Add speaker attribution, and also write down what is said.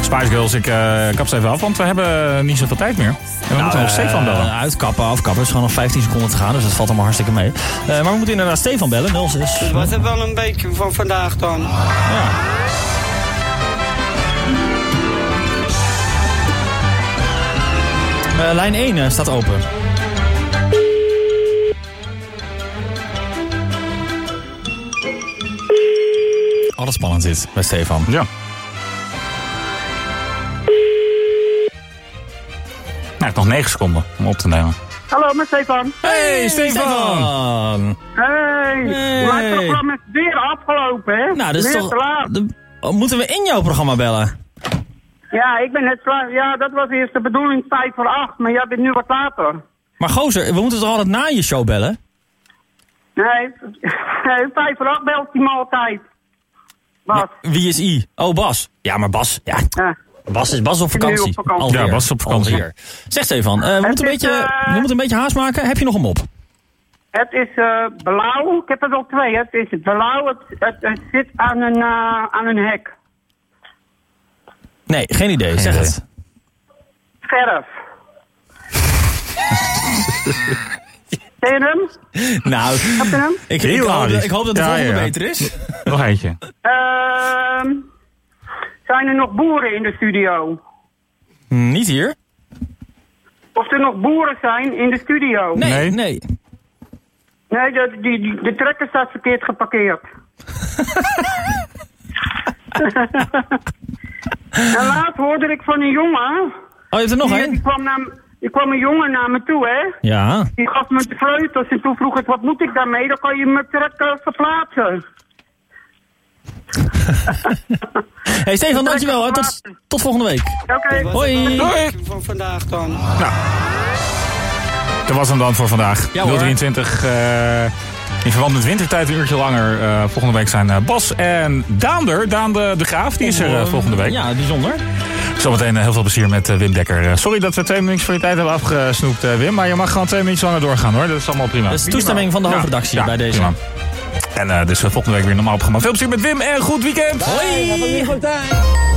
Speaker 1: Spice Girls, ik eh, kap ze even af, want we hebben niet zoveel tijd meer. En we moeten nog Stefan bellen.
Speaker 2: Eh, uitkappen, afkappen. is gewoon nog 15 seconden te gaan, dus dat valt allemaal hartstikke mee. Eh, maar we moeten inderdaad Stefan bellen, 06.
Speaker 3: Het was het wel een beetje voor vandaag dan.
Speaker 2: Eh, lijn 1 eh, staat open. Alles spannend zit bij Stefan.
Speaker 1: Ja. Nou, ik heb nog 9 seconden om op te nemen.
Speaker 4: Hallo, met Stefan.
Speaker 1: Hey, Stefan!
Speaker 2: Stefan!
Speaker 4: Hey.
Speaker 2: Hey.
Speaker 4: Maar het programma is weer afgelopen, hè?
Speaker 2: Nou, dat is
Speaker 4: weer
Speaker 2: toch...
Speaker 4: te laat.
Speaker 2: de- oh, moeten we in jouw programma bellen?
Speaker 4: Ja, ik ben net klaar. Ja, dat was eerst de bedoeling vijf voor acht, maar jij bent nu wat later.
Speaker 2: Maar gozer, we moeten toch altijd na je show bellen?
Speaker 4: Nee, nee, vijf voor acht belt hij me altijd. Bas.
Speaker 2: Wie is I? Oh, Bas. Ja, maar Bas. Ja,
Speaker 4: Ja.
Speaker 2: Bas is, Bas is op
Speaker 4: ben nu op
Speaker 2: vakantie.
Speaker 4: vakantie.
Speaker 2: Alweer.
Speaker 1: Ja, Bas is op vakantie.
Speaker 2: Alweer. Zeg Stefan, eh, we, moeten een
Speaker 4: is,
Speaker 2: beetje,
Speaker 4: eh,
Speaker 2: we moeten een beetje haast maken. Heb je nog een mop?
Speaker 4: Het is eh, blauw. Ik heb er al twee. Het is blauw. Het, het, het zit aan een, eh, aan een hek.
Speaker 2: Nee, geen idee. zeg
Speaker 1: idee.
Speaker 2: het.
Speaker 4: Verf. Ken je hem?
Speaker 2: Nou,
Speaker 4: Ken je hem?
Speaker 2: ik, ik,
Speaker 1: Heel
Speaker 2: hoop,
Speaker 1: aardig.
Speaker 2: ik hoop dat de
Speaker 1: Ja,
Speaker 2: volgende
Speaker 1: ja, ja.
Speaker 2: beter is.
Speaker 1: Nog eentje.
Speaker 4: Ehm, zijn er nog boeren in de studio?
Speaker 1: Mm,
Speaker 2: Niet hier.
Speaker 4: Of er nog boeren zijn in de studio?
Speaker 2: Nee, nee. Oh,
Speaker 1: Nee.
Speaker 4: Nee, de, die, die- de trekker staat verkeerd geparkeerd. en laat hoorde ik van een jongen.
Speaker 2: Oh, je hebt er nog
Speaker 4: die, die
Speaker 2: één?
Speaker 4: kwam naar, m- die kwam een jongen naar me toe, hè?
Speaker 2: Ja.
Speaker 4: Die gaf me de sleutels en toen vroeg ik, wat moet ik daarmee? Dan kan je mijn trekker verplaatsen.
Speaker 2: Hey Stefan, dankjewel. hè. Tot, tot volgende week.
Speaker 4: Oké.
Speaker 3: Het was
Speaker 2: Hoi.
Speaker 3: het wel
Speaker 1: Hoi.
Speaker 3: een beetje voor vandaag dan.
Speaker 1: Dat was hem dan voor vandaag.
Speaker 2: Ja, hoor.
Speaker 1: 023. eh, in verband met wintertijd een uurtje langer. eh, volgende week zijn eh, Bas en Daander. Daan de, de Graaf, die is er eh, volgende week.
Speaker 2: Ja, bijzonder.
Speaker 1: Zometeen eh, heel veel plezier met eh, Wim Dekker. Eh, sorry dat we twee minuutjes van je tijd hebben afgesnoept, eh, Wim. Maar je mag gewoon twee minuutjes langer doorgaan hoor. Dat is allemaal prima.
Speaker 2: Dat is toestemming van de
Speaker 1: Ja,
Speaker 2: hoofdredactie
Speaker 1: ja,
Speaker 2: bij deze.
Speaker 1: prima. En eh, dus eh, volgende week weer een normaal programma. Veel plezier met Wim en goed weekend.
Speaker 2: Hoi.